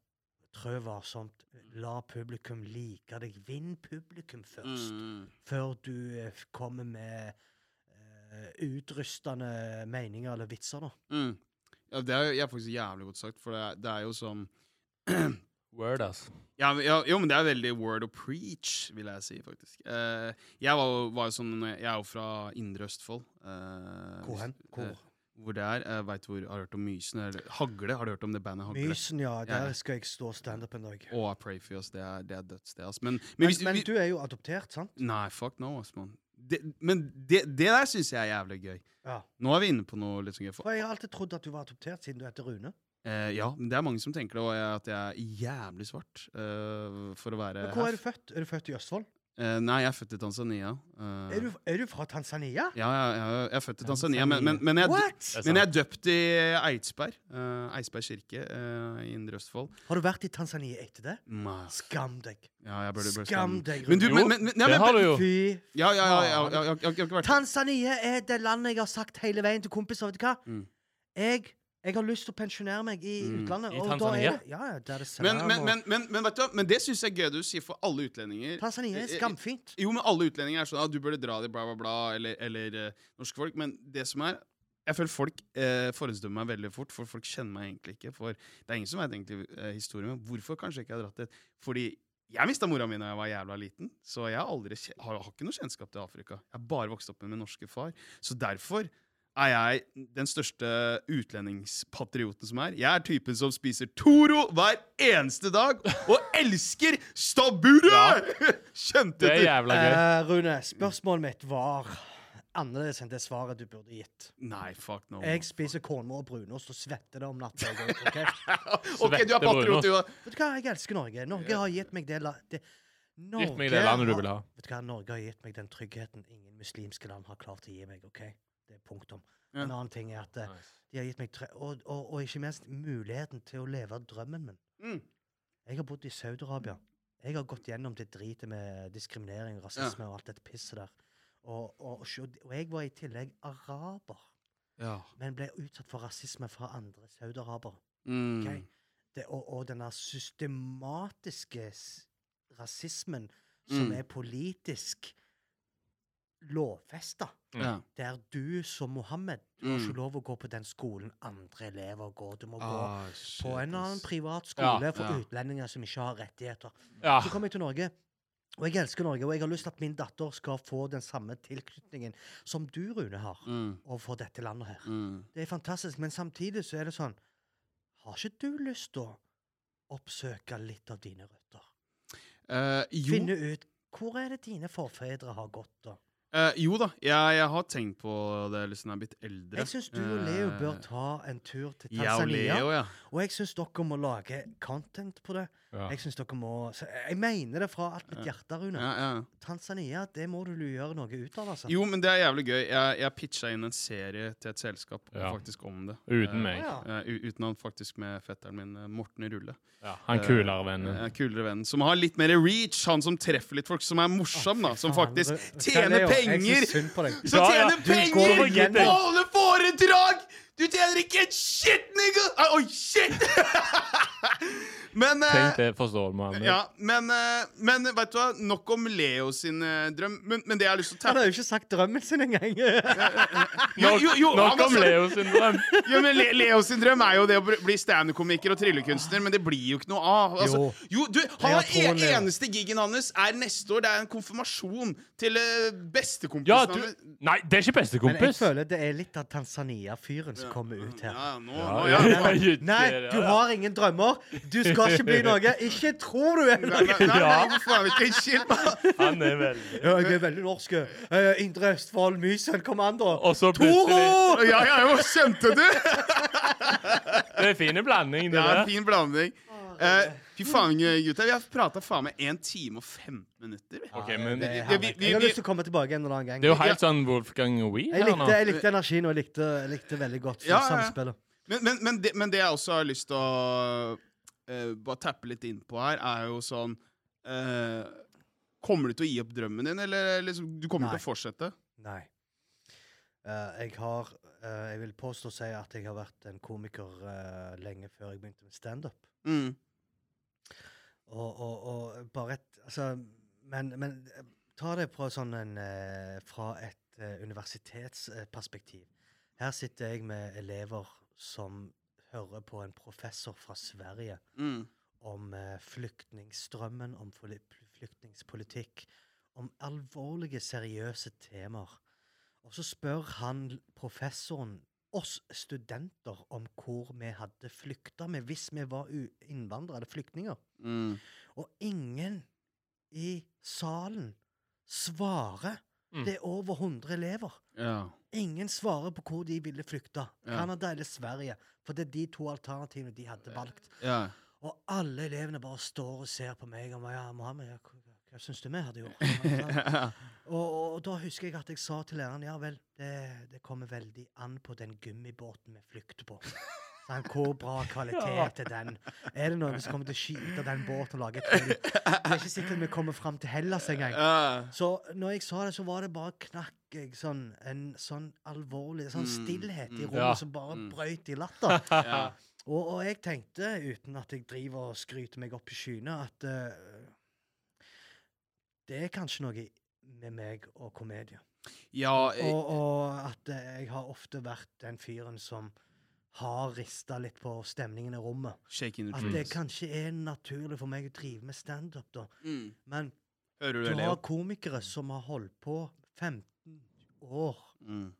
Trø varsomt. La publikum like deg. Vinn publikum først.
Mm.
Før du eh, f- kommer med eh, utrystende meninger eller vitser, da.
Mm. Ja, det er jo jeg er faktisk jævlig godt sagt, for det er, det er jo som
Word, ass.
ja, men- ja, Jo, men det er veldig word of preach, vil jeg si, faktisk. Eh, jeg var, jo- var jo sånn Jeg er jo fra Indre Østfold. eh,
Hvor hen?
hvis- eh,
Hvor?
hvor det er. Jeg vet hvor. Har du hørt om Mysen? Eller Hagle? Har du hørt om det bandet Hagle?
Mysen, ja.
Ja, ja.
Der skal jeg stå standup en dag.
Og I Pray For You, ass. Det er, det er dødssted, ass. Men, men,
Men,
hvis, du-
men
vi-
du er jo adoptert, sant?
Nei, fuck no, ass, mann. Det- Men det, det der syns jeg er jævlig gøy.
Ja.
Nå er vi inne på noe litt sånn gøy. for-
For jeg har alltid trodd at du var adoptert siden du heter Rune.
Eh, ja, men det er mange som tenker det, og jeg, at jeg er jævlig svart eh, for å være
Men hvor er du
half.
født? Er du født i Østfold?
Eh, nei, jeg er født i Tanzania. eh.
Er du, er du fra Tanzania?
Ja, jeg, jeg, jeg er født i Tanzania, men, men, men, jeg, er dø-
What?!
Det er
men jeg
sant.
er døpt i Eidsberg. eh, Eidsberg kirke eh, i Indre Østfold.
Har du vært i Tanzania etter det?
Nei,
Skam deg!
Ja, jeg burde, burde
Skam
stemme.
deg,
Men du,
Rune.
men, men, men, ja,
Det
men
har du jo.
Fy
Ja, ja, ja, ja, ja, jeg, jeg, jeg har ikke vært
Tanzania er det landet jeg har sagt hele veien til kompiser, vet du hva?
Mm.
Jeg Jeg har lyst til å pensjonere meg i
Mm.
utlandet.
I
og da er
Tanzania?
det- Ja, ja, der er
Men,
salam
men,
og-
men, men, men vet du hva? Men det syns jeg er gøy du sier for alle utlendinger.
Tanzania er skamfint.
Jo, men alle utlendinger er sånn at du burde dra dit, bla, bla, bla, eller, eller eh, norske folk. Men det som er Jeg føler folk eh, forhåndsdømmer meg veldig fort, for folk kjenner meg egentlig ikke. For det er ingen som vet egentlig eh, historien min. Hvorfor kanskje jeg ikke har dratt dit? Fordi jeg mista mora mi da jeg var jævla liten, så jeg har, aldri, kje- har, har ikke noe kjennskap til Afrika. Jeg har bare vokst opp med min norske far. Så derfor er jeg den største utlendingspatrioten som er. Jeg er typen som spiser Toro hver eneste dag, og elsker stabburet! Kjente
Det er
du?
jævla gøy.
Eh, Rune, spørsmålet mitt var annerledes enn det svaret du burde gitt.
Nei, fuck no.
Jeg spiser kornmål og brunost og svetter det om natta. jeg går ut, ok?
ok, du er patriot,
Bruno.
du òg.
Vet du hva, jeg elsker Norge. Norge har gitt meg det la- det- Norge
Gitt meg det landet du vil ha.
Vet du hva, Norge har gitt meg den tryggheten ingen muslimske land har klart å gi meg. ok? Det er punktum.
Ja.
En annen ting er at eh, de har gitt meg tre og, og, og ikke minst muligheten til å leve drømmen min.
Mm.
Jeg har bodd i Saudi-Arabia. Jeg har gått gjennom det dritet med diskriminering, rasisme og alt dette pisset der. Og, og, sjå- og jeg var i tillegg araber,
Ja.
men ble utsatt for rasisme fra andre saudarabere.
Mm.
ok? Det- Og, og denne systematiske s- rasismen som
Mm.
er politisk lovfesta,
Ja.
der du som Mohammed du har
Mm.
ikke lov å gå på den skolen andre elever går. Du må gå
Ah, shit,
på en annen
ass.
privat skole for
ja. Ah.
utlendinger som ikke har rettigheter.
Ja.
Så kom jeg til Norge, og jeg elsker Norge, og jeg har lyst til at min datter skal få den samme tilknytningen som du, Rune, har
Mm.
overfor dette landet her.
Mm.
Det er fantastisk, men samtidig så er det sånn Har ikke du lyst til å oppsøke litt av dine røtter?
Eh, jo,
Finne ut hvor er det dine forfedre har gått, da?
eh, jo da, jeg, jeg har tenkt på det liksom jeg er blitt eldre.
Jeg syns du og Leo
Eh,
bør ta en tur til
Jeg og
Tanzania.
Leo, ja.
Og jeg syns dere må lage content på det.
Ja.
Jeg synes dere må så Jeg mener det fra alt mitt hjerte, Rune.
ja, ja.
Tanzania, det må du gjøre noe ut av, altså.
Jo, men det er jævlig gøy. Jeg, jeg pitcha inn en serie til et selskap
Ja.
faktisk om det.
Å,
Uten meg.
ja.
Eh, u- utenom faktisk med fetteren min, eh, Morten Rulle.
Ja. Han kulere
Eh,
vennen.
kulere vennen. Som har litt mer reach, han som treffer litt folk, som er morsom, da. Som
Faen,
faktisk
Ru-
tjener
Leo, Jeg
penger!
syns synd på deg.
Som
Ja, ja.
tjener
Du går og
penger
gidder.
på å holde foredrag! Du tjener ikke en shit, nigga! Ah, Oi, shit! Men eh,
Tenk det, forstår man.
ja, men, eh, men vet du hva? Nok om Leo sin eh, drøm. Men, men det jeg har lyst til å
Han
tappe
har jo ikke sagt drømmen sin engang. ja,
Jo, jo, jo, han
Nok
var
om
så-
Leo syndrom.
Jo, men Le Leo sin drøm er jo det å bli- bli standup-komiker og tryllekunstner, men det blir jo ikke noe av. Altså, jo, du, han
Jeg tror
en,
Leo-
eneste gigen hans er neste år. Det er en konfirmasjon til eh, bestekompisen
Ja, du
hans.
Nei, det er ikke
Men jeg
bestekompis.
føler det er litt av Tanzania-fyren som kommer ut her.
Ja, nå,
Ja,
nå,
ja,
ja.
ja.
Nei, du har ingen drømmer. Du skal ikke bli noe. Ikke tro du er
Nei,
noe.
nei, nei,
Ja.
nei, for faen, ikke en shit, mann.
Han er veldig
Ja, jeg er veldig norsk. Eh, Indre Østfold, Mysen, kom an, da.
Og så plutselig
Toro!
Ja, ja, jo, skjønte du?
Det er fin blanding,
Det
det
er en
der.
fin blanding. Eh, Fy faen, gutta. Vi har prata faen meg 1 time og 15 minutter. vi.
Ok, men
Det
Det
er
vi- vi-
herlig.
vi-
Jeg har
vi-
lyst til å komme tilbake en eller annen gang.
er jo helt sånn Wolfgang Wee
Jeg
her nå.
likte, jeg likte energien, og jeg likte, jeg likte veldig godt
Ja, ja, ja.
samspillet.
Men, men, men, det, men det jeg også har lyst til å eh, bare tappe litt inn på her, er jo sånn eh, Kommer du til å gi opp drømmen din, eller liksom, du kommer
Nei.
til å fortsette?
Nei. Eh, jeg har eh, Jeg vil påstå å si at jeg har vært en komiker eh, lenge før jeg begynte med standup.
Mm.
Og, og, og bare et Altså, men, men eh, ta det fra sånn en eh, Fra et eh, universitetsperspektiv. Her sitter jeg med elever som hører på en professor fra Sverige
Mm.
om eh, flyktningstrømmen, om fly- flyktningspolitikk, om alvorlige, seriøse temaer. Og så spør han l- professoren oss studenter om hvor vi hadde flykta med hvis vi var u- innvandrere eller flyktninger.
Mm.
Og ingen i salen svarer.
Mm.
Det er over 100 elever.
Ja.
Ingen svarer på hvor de ville flykta.
Ja.
Canada eller Sverige. For det er de to alternativene de hadde valgt.
ja.
Og alle elevene bare står og ser på meg og bare, ja, Mohammed, ja, hva, hva syns du vi hadde gjort? og, og, og da husker jeg at jeg sa til læreren ja vel, det, det kommer veldig an på den gummibåten vi flykter på. Men hvor bra kvalitet er den? Er det noen som kommer til å skyte den båten og lage et hull? Det er ikke sikkert vi kommer fram til Hellas engang.
Ja.
Så når jeg sa det, så var det bare knakk jeg sånn en sånn alvorlig sånn
Mm,
stillhet i
mm.
rommet
Ja.
som bare
Mm.
brøyt i latter.
Ja.
Og, og jeg tenkte, uten at jeg driver og skryter meg opp i skyene, at eh, det er kanskje noe med meg og komedie.
ja eh, jeg,
Og, og at eh, jeg har ofte vært den fyren som har rista litt på stemningen i rommet.
shake in the
At
trees.
det kanskje er naturlig for meg å drive med standup, da.
Mm.
Men
Hører du
du
det, Leo?
har komikere som har holdt på 15 år
Mm.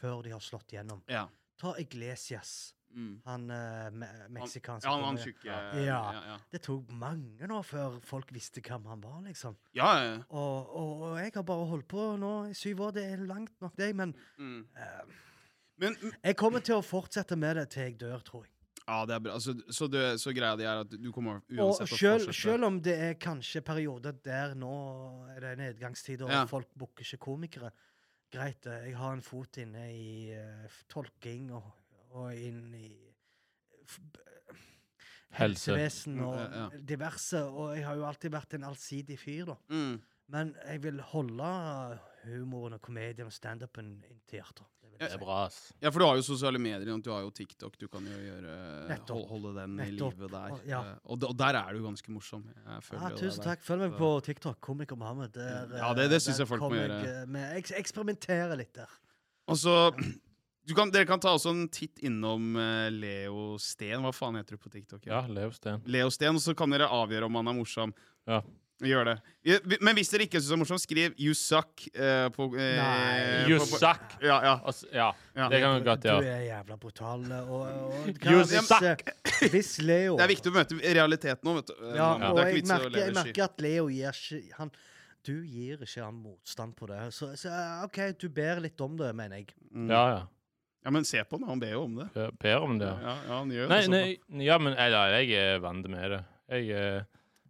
før de har slått gjennom.
Ja.
Ta Iglesias,
Mm.
han eh, me meksikanske
Altså, Ja, han, han
komikeren.
tjukke
Ja.
ja, ja.
Det tok mange år før folk visste hvem han var, liksom.
ja, ja.
Og, og, og jeg har bare holdt på nå i syv år. Det er langt nok, det. Men
Mm.
eh,
Men mm,
jeg kommer til å fortsette med det til jeg dør, tror jeg.
Ja, det er bra. Altså, så, du, så greia di er at du kommer
Og
uansett
selv,
å fortsette?
selv om det er kanskje perioder der nå er det nedgangstid, og
Ja.
folk booker ikke komikere Greit, eh, jeg har en fot inne i eh, f- tolking og, og inn i f- b-
Helse.
helsevesen og
Mm, ja, ja.
diverse, og jeg har jo alltid vært en allsidig fyr, da.
Mm.
Men jeg vil holde humoren og komedien og standupen inntil hjertet. Det vil
Det
jeg
er
si.
bra, ass.
Ja, for du har jo sosiale medier, og du har jo TikTok. Du kan jo gjøre,
Nettopp.
hol- holde den
Nettopp.
i livet der.
Og- ja.
Eh, Og, d- og der er du ganske morsom. Jeg føler
Ja,
jo det
Ah, tusen
der.
takk. Følg meg på TikTok, komiker Mohammed. Der,
Ja, det- det
eh,
synes
der
jeg folk må
kommer
gjøre.
jeg, eh, Med, jeg eksperimenterer litt der.
Og så du kan, Dere kan ta også en titt innom eh, Leo Steen. Hva faen heter du på TikTok?
Ja, Leo Steen.
Leo Steen, og så kan dere avgjøre om han er morsom.
Ja.
Gjør det. Ja, vi- Men hvis dere ikke syns han er morsom, skriv 'you suck' eh, på eh,
Nei.
på-
You
på-
suck!
Ja, ja.
Altså, ja,
Ja.
det kan du godt
Du
gjøre.
er jævla brutal. eh, Og, og hva,
You
hvis,
suck!
eh, hvis Leo
Det er viktig å møte realiteten nå, vet du. Eh,
Ja,
Mohammed.
og
det er ikke
jeg
vits i å
merker,
leve i
jeg
sky.
merker at Leo gir ikke han, Du gir ikke han motstand på det. Så, så eh, OK, du ber litt om det, mener jeg.
Mm.
Ja, ja.
Ja, men se på han, han ber jo om det.
Jeg Ber om det.
Ja,
ja.
ja, han gjør
Nei,
det. sånn.
nei, ja, men jeg, jeg er vant med det. Jeg, eh,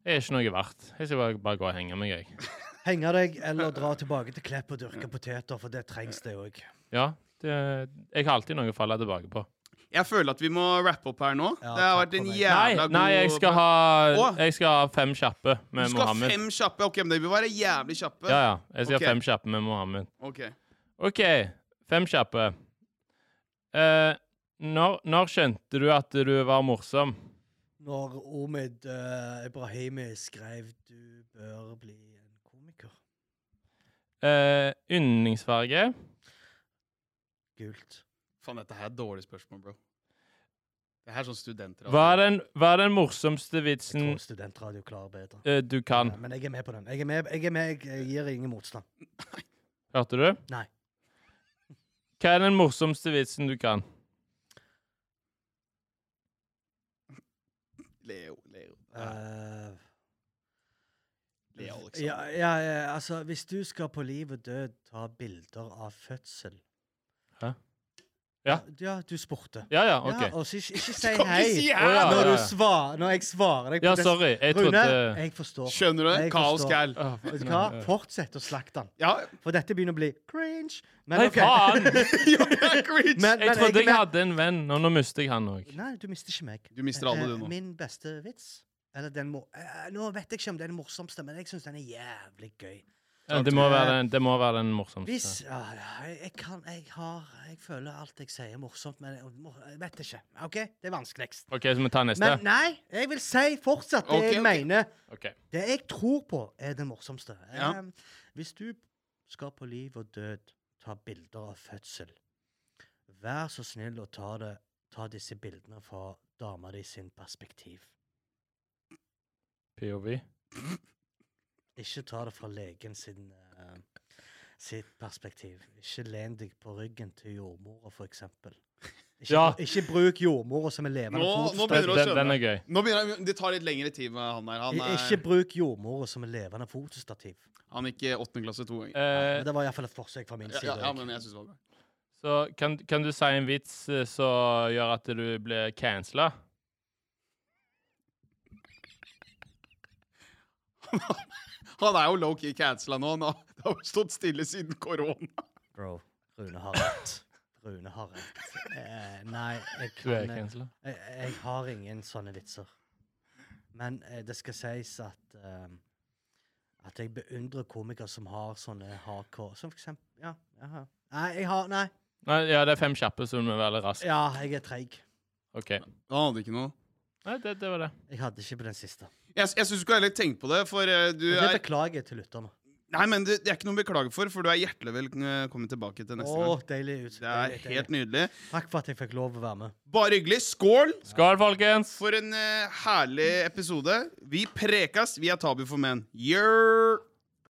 jeg er ikke noe verdt. Jeg skal bare, bare gå og henge meg, jeg.
Henge deg eller dra tilbake til Klepp og dyrke poteter, for det trengs, det òg.
Ja, det, jeg har alltid noe å falle tilbake på.
sånn. Jeg føler at vi må rappe opp her nå.
Ja,
det har
takk
vært en
for meg.
Nei,
jævla god
nei jeg, skal ha,
Å!
jeg skal ha fem kjappe
Du
med
skal ha
Mohammed.
fem kjappe? Ok, men det vil være jævlig kjappe.
Ja, ja. Jeg skal
Ok.
ha fem kjappe med Mohammed.
Ok.
OK, fem kjappe. Eh, når, når skjønte du at du var morsom?
Når Omid eh, Ibrahimi skrev 'Du bør bli en komiker'.
Eh, yndlingsfarge?
Gult.
Faen, dette her er et dårlig spørsmål, bro. Det her er sånn studenter
Hva er den, hva er den morsomste
Jeg
vitsen
tror studentradio klarer bedre.
eh, du kan?
Ja, men jeg er med på den. Jeg er med, jeg, er med, jeg, jeg gir ingen motstand.
Hørte du?
Nei.
Hva er den morsomste vitsen du kan?
Leo, Leo.
Eh,
Leo
liksom-
Alexander.
ja, ja, ja, altså, hvis du skal på liv og død ta bilder av fødsel
Hæ? Ja.
Ja, du spurte.
Ja, ja,
Ja,
OK.
og så ikke, ikke
Du
si
kan
hei
ikke si
Å, ja,
her!
når,
ja,
du
ja.
svar, når jeg svarer deg. på
Ja,
det-
sorry. Jeg
Rune,
trodde
jeg forstår.
Skjønner du?
Jeg
Kaos,
forstår.
gæl.
Åh,
Vet du
nei,
hva?
ja.
Fortsett å slakte han.
Ja,
For dette begynner å bli cringe. Men
Nei,
ok.
faen!
ja, det er cringe!
Men-
Jeg trodde
er
jeg
med-
hadde en venn, og nå mister jeg han òg.
Nei, du mister ikke meg.
Du mister alle,
Eh,
du, nå.
Min beste vits eller den mo eh, Nå vet jeg ikke om det er den morsomste, men jeg syns den er jævlig gøy.
Det må være den, det må være den morsomste.
Hvis ah, ja, jeg, jeg kan Jeg har Jeg føler alt jeg sier, er morsomt, men jeg, mor- jeg vet ikke. OK? Det er vanskeligst.
OK, så vi tar neste.
Men nei, jeg vil si fortsatt det
Ok,
jeg
ok.
mener.
Ok.
Det jeg tror på, er den morsomste.
Ja.
Em, hvis du skal på liv og død ta bilder av fødsel, vær så snill å ta, det, ta disse bildene fra dama di sin perspektiv.
POV.
Ikke ta det fra legen sin, eh, sitt perspektiv. Ikke len deg på ryggen til jordmora, for eksempel. Ikke,
Ja.
ikke bruk jordmora som en levende
Nå- nå
fotsted.
begynner å
Den, den
skjønne.
er gøy.
Nå begynner jeg, Det tar litt lengre tid med han eh, der. Han
Ikke
er,
bruk jordmora som en levende fotostativ.
han er ikke åttende klasse to ganger.
Men
Eh,
det var iallfall et forsøk fra min
Ja,
side.
ja, ja,
også.
men jeg synes det var bra.
så kan, kan du si en vits eh, som gjør at du blir cancela?
Han er jo low-key cancela nå. nå. Det har jo stått stille siden korona.
Bro, Rune har rett. Rune har rett. Eh, nei, jeg
Du er
kan eh,
cancela.
jeg, jeg har ingen sånne vitser. Men eh, det skal sies at eh, At jeg beundrer komikere som har sånne hardcore Som for eksempel Ja. jaha. Nei, jeg har Nei.
Nei, ja, det er fem kjappe, så du må være litt rask.
Ja, jeg er treig.
OK.
Han hadde ikke noe.
Nei, det, det var det.
Jeg hadde ikke på den siste.
Jeg, jeg syns du skal heller tenke på det, for eh, du
Men det
er
beklager jeg til lytterne.
Nei, men det, det er ikke noe å beklage for, for du er hjertelig velkommen eh, tilbake til
Å,
neste gang.
deilig ut.
Det er
deilig,
helt
deilig.
nydelig.
Takk for at jeg fikk lov å være med.
Bare hyggelig. Skål
Skål, folkens!
for en eh, herlig episode. Vi prekas. Vi er tabu for menn. Gjør!